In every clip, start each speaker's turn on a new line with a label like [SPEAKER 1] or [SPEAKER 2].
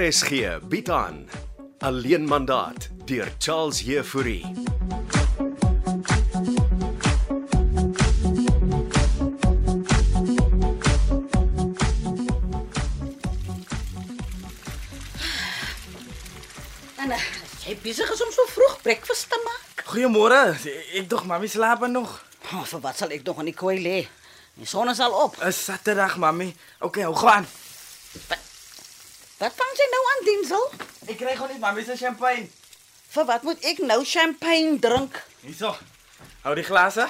[SPEAKER 1] RSG bied aan Alleen mandaat deur Charles Heffouri.
[SPEAKER 2] En uh, jy besig is om so vroeg breakfast te maak?
[SPEAKER 3] Goeiemôre. Ek dog mami slaap nog.
[SPEAKER 2] Oh, vir wat sal ek nog aan die koei lê? Die son is al op.
[SPEAKER 3] Is Saterdag mami. Okay, hou gaan.
[SPEAKER 2] Wat vang jy nou aan diensel?
[SPEAKER 3] Ek kry gou net mami se champagne.
[SPEAKER 2] Vir wat moet ek nou champagne drink?
[SPEAKER 3] Hierso. Hou die glase.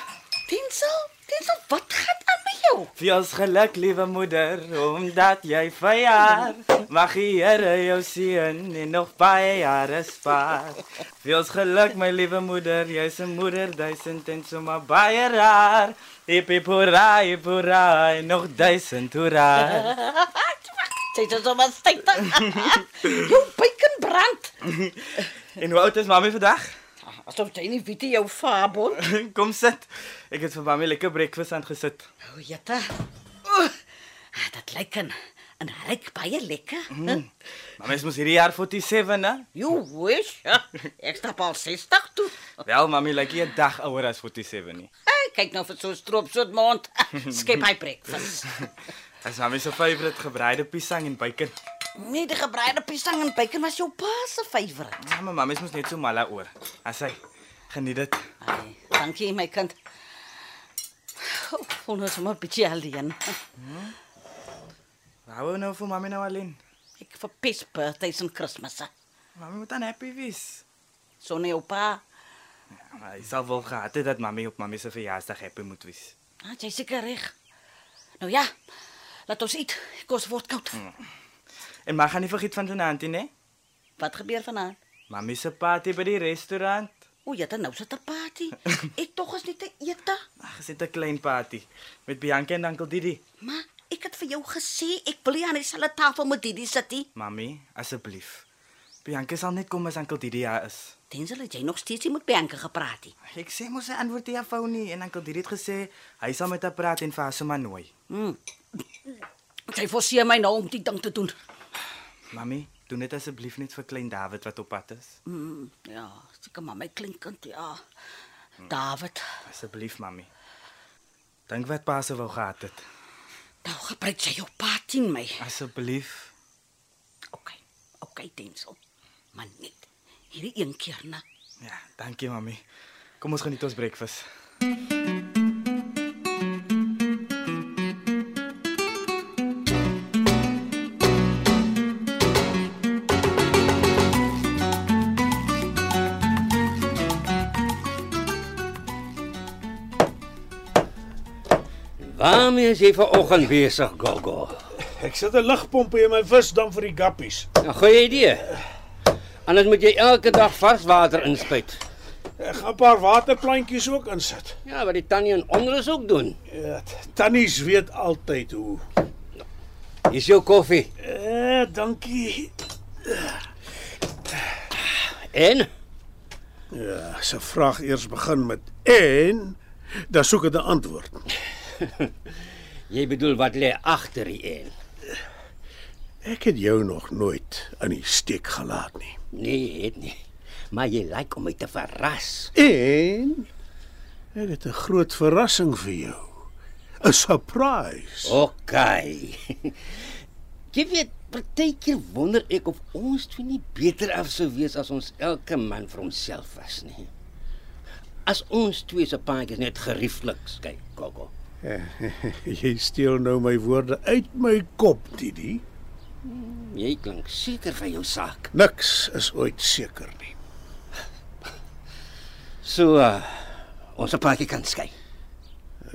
[SPEAKER 2] Diensel? Diensel, wat gaan aan met jou?
[SPEAKER 3] Viels geluk, liewe moeder, omdat jy verjaar. Mag die Here jou seën en nog baie jare spaar. Viels geluk, my liewe moeder, jy's 'n moeder duisend en sommer baie raar. Hip hip hoera, hip hoera, en nog duisend hoera.
[SPEAKER 2] Sy het so wat styf. jou bacon brand.
[SPEAKER 3] En hoe oud is mami vandag?
[SPEAKER 2] Asof jy nie weet jy jou fabel.
[SPEAKER 3] Kom sit. Ek het vir mami lekker breakfast aangesit.
[SPEAKER 2] O, jette. Oeh, ah, Dit lyk en en ryk baie lekker. Mm.
[SPEAKER 3] Mami is mos hierdie jaar 47, hè?
[SPEAKER 2] You wish. Ja, Ek stap al 60 toe.
[SPEAKER 3] Wel, mami lyk like 'n dag ouer as 47 nie.
[SPEAKER 2] Hey, kyk nou vir so 'n stroop soet mond. Skep hy breakfast.
[SPEAKER 3] Dis mami se favourite gebreide piesang en bacon.
[SPEAKER 2] Nee, die gebreide piesang en bacon was jou pa se favourite.
[SPEAKER 3] Ja, maar mami is mos net so mal oor. As hy geniet dit.
[SPEAKER 2] Ai, dankie my kind. Oh, Voel nou sommer 'n bietjie alleen.
[SPEAKER 3] Hou nou vir mami nou alleen.
[SPEAKER 2] Ek verpes birthdays en Kersfeeste.
[SPEAKER 3] Mami moet dan happy wees.
[SPEAKER 2] Sonne jou pa.
[SPEAKER 3] Ja, maar hy sal wel gehad het dat mami op mami se verjaarsdag happy moet wees.
[SPEAKER 2] Ah, jy seker reg. Nou ja. Laat ons eet. Kos word koud.
[SPEAKER 3] En maar gaan nie vergeet van vanaand nie, né?
[SPEAKER 2] Wat gebeur vanaand?
[SPEAKER 3] Mami se party by die restaurant.
[SPEAKER 2] O, jy het nou sit 'n party. Ek tog is nie te ete.
[SPEAKER 3] Ag, is dit 'n klein party met Bianca en Oom Didi.
[SPEAKER 2] Maar ek het vir jou gesê ek wil nie aan dieselfde tafel met Didi sit nie.
[SPEAKER 3] Mami, asseblief. Bianca sal net kom as Oom Didi daar is.
[SPEAKER 2] Tensel het jy nog steeds nie met Bianca gepraat nie.
[SPEAKER 3] Ek sê mos sy antwoord nie afhou nie en Oom Didi het gesê hy sal met haar praat en vir haar sommer nooi.
[SPEAKER 2] Jy forceer my nou om die ding te doen.
[SPEAKER 3] Mami, doen dit asseblief net vir klein David wat op pad is.
[SPEAKER 2] Mm, ja, seker maar my klinkend ja. David,
[SPEAKER 3] Asseblief, mami. Dink wat pa se wou gehad het.
[SPEAKER 2] nou gebruik jy jou pa teen my.
[SPEAKER 3] Asseblief.
[SPEAKER 2] OK. OK, Tensel. Maar net hierdie een keer, né?
[SPEAKER 3] Ja, dankie mami. Kom ons geniet ons breakfast.
[SPEAKER 4] Waarmee is jy vanoggend besig, Gogo?
[SPEAKER 5] Ek sit 'n ligpompie in my visdam vir die gappies.
[SPEAKER 4] 'n Ja, Goeie idee. Anders moet jy elke dag vars water inspuit.
[SPEAKER 5] Ek gaan 'n paar waterplantjies ook insit.
[SPEAKER 4] Ja, wat die tannie en onderus ook doen.
[SPEAKER 5] Ja, t- Tannies weet altyd hoe.
[SPEAKER 4] Hier is jou koffie.
[SPEAKER 5] Eh, dankie.
[SPEAKER 4] En
[SPEAKER 5] Ja, se vraag eers begin met en dan soek dit 'n antwoord.
[SPEAKER 4] jy bedoel wat lê agter die een?
[SPEAKER 5] Ek het jou nog nooit in die steek gelaat nie.
[SPEAKER 4] Nee, het nie. Maar jy lyk like om my te verras.
[SPEAKER 5] En ek het 'n groot verrassing vir jou. 'n Surprise.
[SPEAKER 4] OK. jy weet, partykeer wonder ek of ons twee nie beter af sou wees as ons elke man vir homself was nie. As ons twee se paadjies net gerieflik kyk, Gogo.
[SPEAKER 5] Jy steel nou my woorde uit my kop, Didi.
[SPEAKER 4] Jy klink seker van jou saak.
[SPEAKER 5] Niks is ooit seker nie.
[SPEAKER 4] So uh, ons paadjie kan skei.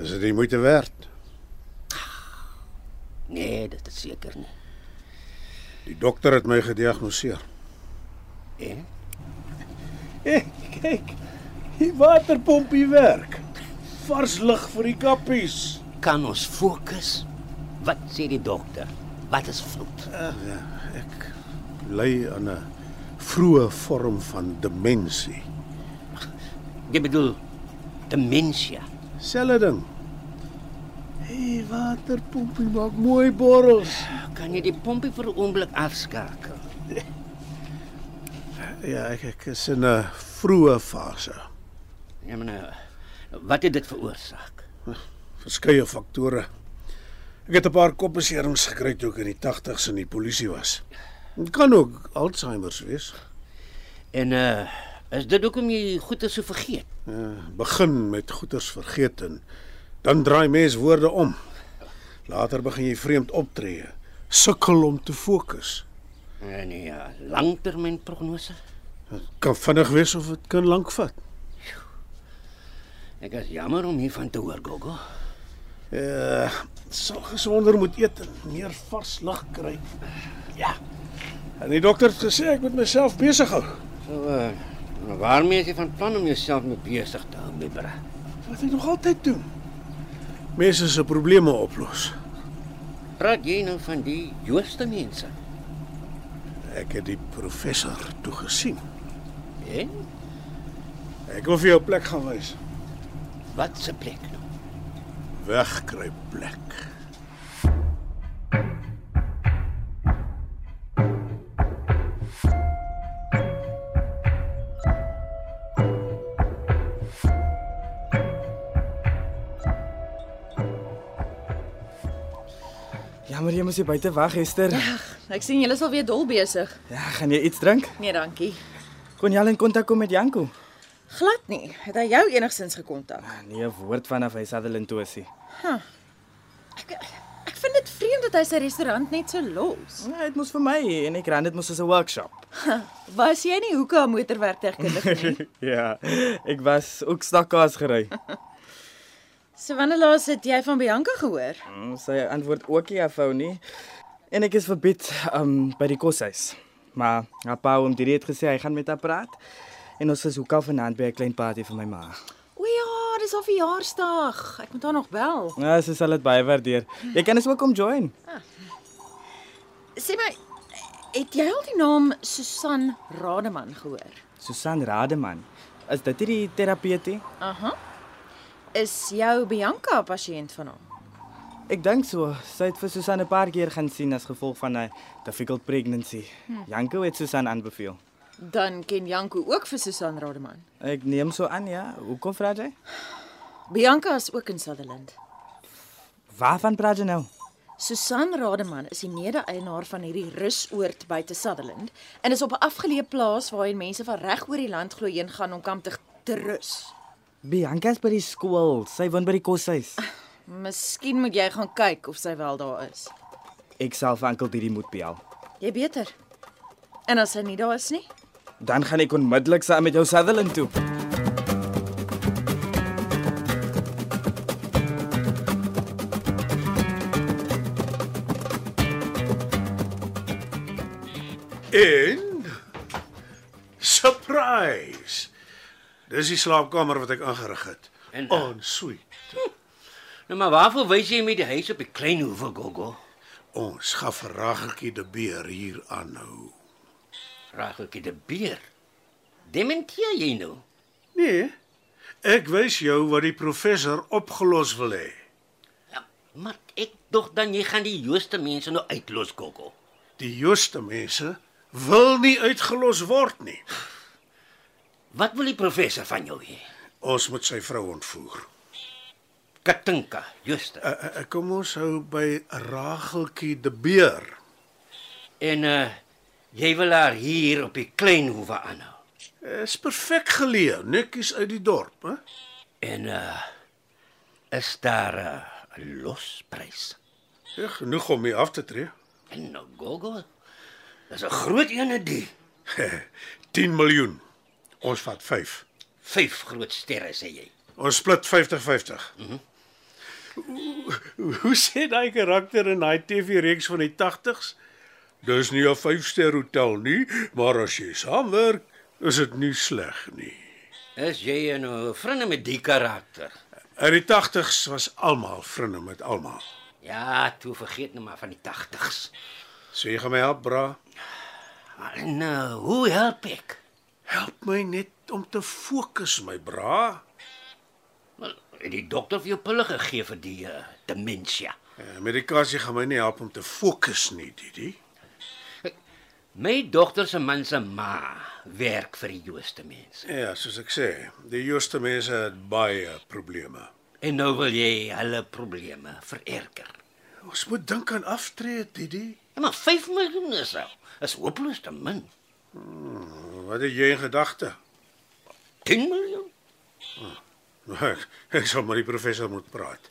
[SPEAKER 5] Is dit die moeite werd?
[SPEAKER 4] Nee, dit is seker nie.
[SPEAKER 5] Die dokter het my gediagnoseer.
[SPEAKER 4] En
[SPEAKER 5] Hey, kyk. Die waterpompie werk. Vars lug vir die kappies.
[SPEAKER 4] kan ons fokus? Wat sê die dokter? Wat is fout?
[SPEAKER 5] Ja, Ek ly aan 'n vroeë vorm van demensie.
[SPEAKER 4] Jy bedoel demensie.
[SPEAKER 5] Selfde ding. Hey, waterpompie maak mooi borrels.
[SPEAKER 4] Kan jy die pompie vir 'n oomblik afskakel?
[SPEAKER 5] Ja, ek, ek is in 'n vroeë fase.
[SPEAKER 4] Ja, maar nou, wat het dit veroorsaak?
[SPEAKER 5] Verskeie faktore. Ek het 'n paar kopbeserings gekry toe ek in die 80's in die polisie was. Dit kan ook Alzheimer wees.
[SPEAKER 4] En uh is dit hoekom jy goeie so vergeet?
[SPEAKER 5] Ja, begin met goeters vergeet en dan draai mens woorde om. Later begin jy vreemd optree, sukkel om te fokus.
[SPEAKER 4] Nee, nee, ja, langtermynprognose.
[SPEAKER 5] Dit kan vinnig wees of dit kan lank vat.
[SPEAKER 4] Ek is jammer om hiervan te hoor, Gogo.
[SPEAKER 5] Eh, uh, sal gesonder moet eet en meer vars lug kry. Ja. En die dokter het gesê ek moet myself besig hou.
[SPEAKER 4] So uh nou, waarmee is jy van plan om jouself mee besig te hou, my bra?
[SPEAKER 5] Wat ek nog altyd doen. Mense se probleme oplos.
[SPEAKER 4] Praat jy nou van die Joodse mense?
[SPEAKER 5] Ek het die professor toe gesien.
[SPEAKER 4] Hè?
[SPEAKER 5] Ek wil vir jou 'n plek gaan wys.
[SPEAKER 4] Wat se plek nou?
[SPEAKER 5] Wegkruip plek.
[SPEAKER 3] Jammer, jy moes hier buite wag, Esther.
[SPEAKER 6] Ek sien julle is alweer dol besig.
[SPEAKER 3] Ja, gaan jy iets drink?
[SPEAKER 6] Nee, dankie.
[SPEAKER 3] Kon jy al in kontak kom met Janko?
[SPEAKER 6] Glad nie. Het hy jou enigsins gekontak?
[SPEAKER 3] Nee, 'n woord vanaf hy Sutherland toe is. nie.
[SPEAKER 6] Ek ek vind dit vreemd dat hy sy restaurant net so los.
[SPEAKER 3] Nee, dit moes vir my hê en ek ran dit moes as 'n workshop.
[SPEAKER 6] Was jy nie hoeke aan motorwerktegnikus nie?
[SPEAKER 3] ja, ek was ook stakkaas gery.
[SPEAKER 6] So wanneer laas het jy van Bianca gehoor?
[SPEAKER 3] Mm, Sy antwoord ook nie afhou nie. En ek is verbied um by die koshuis. Maar haar pa oom Drie het gesê hy gaan met haar praat en ons is hoekom vanaand by 'n klein party vir my ma.
[SPEAKER 6] O ja, dis haar verjaarsdag. Ek moet haar nog bel.
[SPEAKER 3] Ja, sy sal dit baie waardeer. Jy kan ook kom join.
[SPEAKER 6] Sê my, het jy al die naam Susan Rademan gehoor?
[SPEAKER 3] Susan Rademan. Is dit nie die terapeut nie?
[SPEAKER 6] Aha. Is jou Bianca 'n pasiënt van hom?
[SPEAKER 3] Ek dink so. Sy het vir Susan 'n paar keer gaan sien as gevolg van 'n difficult pregnancy. Hm. Janko het Susan aanbeveel.
[SPEAKER 6] Dan ken Janko ook vir Susan Rademan.
[SPEAKER 3] Ek neem so aan ja. Hoekom vra jy?
[SPEAKER 6] Bianca is ook in Sutherland.
[SPEAKER 3] Waarvan praat jy nou?
[SPEAKER 6] Susan Rademan is die mede-eienaar van hierdie rusoord buite Sutherland en is op 'n afgeleë plaas waarheen mense van reg oor die land glo heen gaan om kamp te, te rus.
[SPEAKER 3] Bianca is by die skool. Sy woon by die koshuis.
[SPEAKER 6] Miskien moet jy gaan kyk of sy wel daar is.
[SPEAKER 3] Ek sal vir oom Didi moet bel.
[SPEAKER 6] Jy beter. En as sy nie daar is nie,
[SPEAKER 3] Dan gaan ek onmiddellik saam met jou Sutherland toe.
[SPEAKER 5] En surprise. Dis die slaapkamer wat ek ingerig het.
[SPEAKER 4] En-
[SPEAKER 5] On suite.
[SPEAKER 4] Nou maar waarvoor wys jy my die huis op die klein hoeve, Gogo?
[SPEAKER 5] Ons gaan vir Rageltjie die beer hier nou. aanhou.
[SPEAKER 4] Rageltjie die beer. Dementeer jy nou?
[SPEAKER 5] Nee. Ek wys jou wat die professor opgelos wil hê.
[SPEAKER 4] Ja, maar ek dog dan jy gaan die Jooste mense nou uitlos, Gogo.
[SPEAKER 5] Die Jooste mense wil nie uitgelos word nie.
[SPEAKER 4] Wat wil die professor van jou hê?
[SPEAKER 5] Ons moet sy vrou ontvoer.
[SPEAKER 4] Katinka, Jooste.
[SPEAKER 5] Uh, uh, uh, kom ons hou by Rageltjie die beer.
[SPEAKER 4] En uh jy wil haar hier op die klein hoeve aanhou.
[SPEAKER 5] Eh, Is perfek geleë, netjies uit die dorp, hè?
[SPEAKER 4] En uh is daar 'n uh, losprys?
[SPEAKER 5] Ja, genoeg om hier af te tree.
[SPEAKER 4] En nou Gogo. Dis 'n groot ene die.
[SPEAKER 5] 10 miljoen. Ons vat 5.
[SPEAKER 4] Vyf groot sterre sê jy.
[SPEAKER 5] Ons split 50-50. Mm -hmm. hoe, hoe sê daai karakter in daai TV-reeks van die 80s? Dis nie 'n 5-ster hotel nie, maar as jy saamwerk, is dit nie sleg nie.
[SPEAKER 4] Is jy 'n uh, vriende met die karakter?
[SPEAKER 5] In die 80s was almal vriende met almal.
[SPEAKER 4] Ja, toe vergeet nou maar van die 80's.
[SPEAKER 5] Sê jy gaan my help, bra?
[SPEAKER 4] En uh, hoe help ek?
[SPEAKER 5] Help my net om te fokus, my bra.
[SPEAKER 4] Wel, het die dokter vir jou pille gegee vir die uh, demensie.
[SPEAKER 5] Ja, Eh, Medikasie gaan my nie help om te fokus nie, Didi.
[SPEAKER 4] My dogter se man se ma werk vir die Jooste mense.
[SPEAKER 5] Ja, soos ek sê, die jongste mense het baie probleme.
[SPEAKER 4] En nou wil jy hulle probleme vererger.
[SPEAKER 5] Ons moet dink aan aftree, Didi.
[SPEAKER 4] Ja, maar 5 miljoen is al. Is hopeloos te min.
[SPEAKER 5] Wat het jy in gedagte?
[SPEAKER 4] 10 miljoen?
[SPEAKER 5] Nou, Ek, ek sal maar die professor moet praat.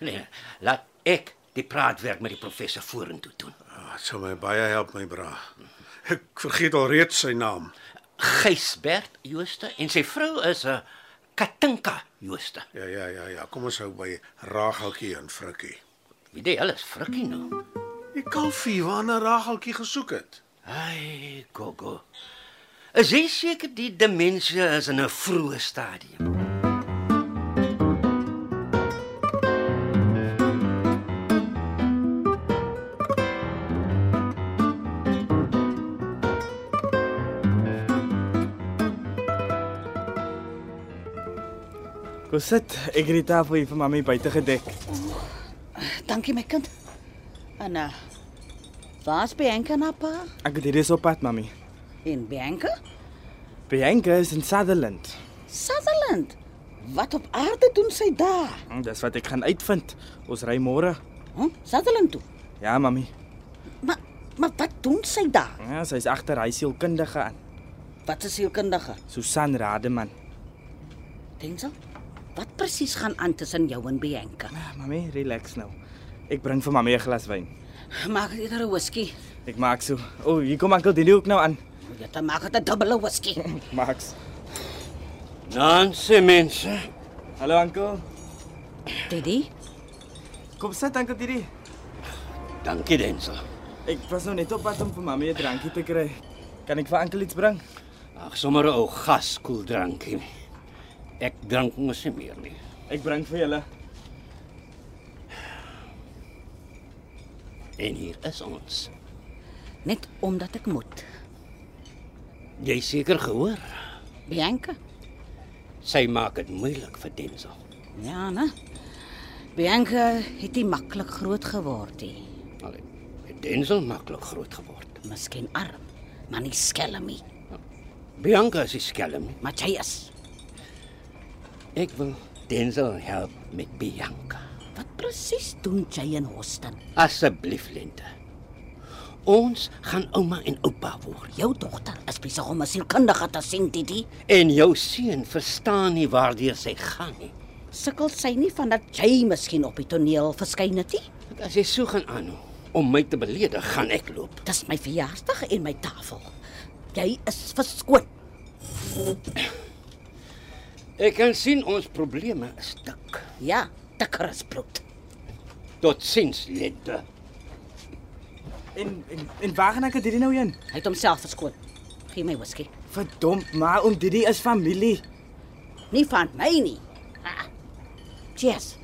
[SPEAKER 4] Nee, laat ek die praatwerk met die professor vorentoe doen.
[SPEAKER 5] Ah, Dit sal my baie help, my bra. Ek vergeet alreeds sy naam.
[SPEAKER 4] Gysbert Jooste en sy vrou is 'n Katinka Jooste.
[SPEAKER 5] Ja, ja, ja, ja. Kom ons hou by Rageltjie en Frikkie.
[SPEAKER 4] Wie dit alles frikkie nou.
[SPEAKER 5] Die kalfie waarna Rageltjie gesoek het.
[SPEAKER 4] Ai, gogo. Is jy seker die demensie is in 'n vroeë stadium?
[SPEAKER 3] Kom sit, ek het die tafel hier vir mami buite gedek.
[SPEAKER 2] Dankie my kind. Anna. Waar's Bianca na pa?
[SPEAKER 3] Ek het hierdie op pad, mami.
[SPEAKER 2] In Bianca?
[SPEAKER 3] Bianca is in Sutherland.
[SPEAKER 2] Sutherland. Wat op aarde doen sy daar?
[SPEAKER 3] Hm, Dis wat ek gaan uitvind. Ons ry môre.
[SPEAKER 2] Hm? Sutherland toe.
[SPEAKER 3] Ja, mami.
[SPEAKER 2] Maar maar wat doen sy daar?
[SPEAKER 3] Ja, sy's agter hy sielkundige aan.
[SPEAKER 2] Wat is sielkundige?
[SPEAKER 3] Susan Rademan.
[SPEAKER 2] Denzel? Wat presies gaan aan tussen jou en Bianca?
[SPEAKER 3] Ah, Mami, relax nou. Ek bring vir mami 'n glas wyn.
[SPEAKER 2] Maak eerder 'n whisky.
[SPEAKER 3] Ek maak so. O, oh, hier kom Ankel Dini ook nou aan.
[SPEAKER 2] Jy Ja, dan maak dit 'n dubbele whisky.
[SPEAKER 3] Max.
[SPEAKER 4] Nanse mense.
[SPEAKER 3] Hallo Ankel.
[SPEAKER 2] Didi,
[SPEAKER 3] Kom sit Ankel Dini.
[SPEAKER 4] Dankie Denzel.
[SPEAKER 3] Ek was nou net op pad om vir mami 'n drankie te kry. Kan ek vir Ankel iets bring?
[SPEAKER 4] Ag, sommer 'n ou gas koeldrankie. Ek drink mos nie meer nie.
[SPEAKER 3] Ek bring vir julle.
[SPEAKER 4] En hier is ons.
[SPEAKER 2] net omdat ek moet.
[SPEAKER 4] Jy seker gehoor?
[SPEAKER 2] Bianca?
[SPEAKER 4] Sy maak dit moeilik vir Denzel.
[SPEAKER 2] Ja, né? Bianca het nie maklik groot geword nie.
[SPEAKER 4] Al het Denzel maklik groot geword.
[SPEAKER 2] Miskien arm, maar nie skelm nie.
[SPEAKER 4] Bianca is die skelm. nie.
[SPEAKER 2] Maar jy is.
[SPEAKER 4] Ek wil Denzel help met Bianca.
[SPEAKER 2] Wat presies doen jy in Houston?
[SPEAKER 4] Asseblief, Lente. Ons gaan ouma en oupa word.
[SPEAKER 2] Jou dogter is besig om 'n sielkundige te sien, Didi.
[SPEAKER 4] En jou seun verstaan nie waardeur sy gaan nie.
[SPEAKER 2] Sukkel sy nie van dat jy miskien op die toneel verskyn het nie?
[SPEAKER 4] Want as jy so gaan aanhou om my te beledig, gaan ek loop.
[SPEAKER 2] Dis my verjaarsdag en my tafel. Jy is verskoon.
[SPEAKER 4] Ek kan sien ons probleme is dik.
[SPEAKER 2] Ja, dikker as brood.
[SPEAKER 4] Tot sins, Lente.
[SPEAKER 3] En en, en waar gaan Ankel Dini nou heen?
[SPEAKER 2] Hy het homself verskoon. Gee my whisky.
[SPEAKER 3] Verdomp, maar om Dini is familie.
[SPEAKER 2] Nie van my nie. Ah. Cheers.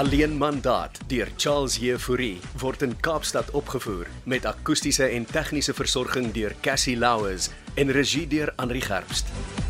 [SPEAKER 1] Alleen mandaat deur Charles Jefouri word in Kaapstad opgevoer met akoestiese en tegniese versorging deur Cassie Louws en regie deur Henri Gerst.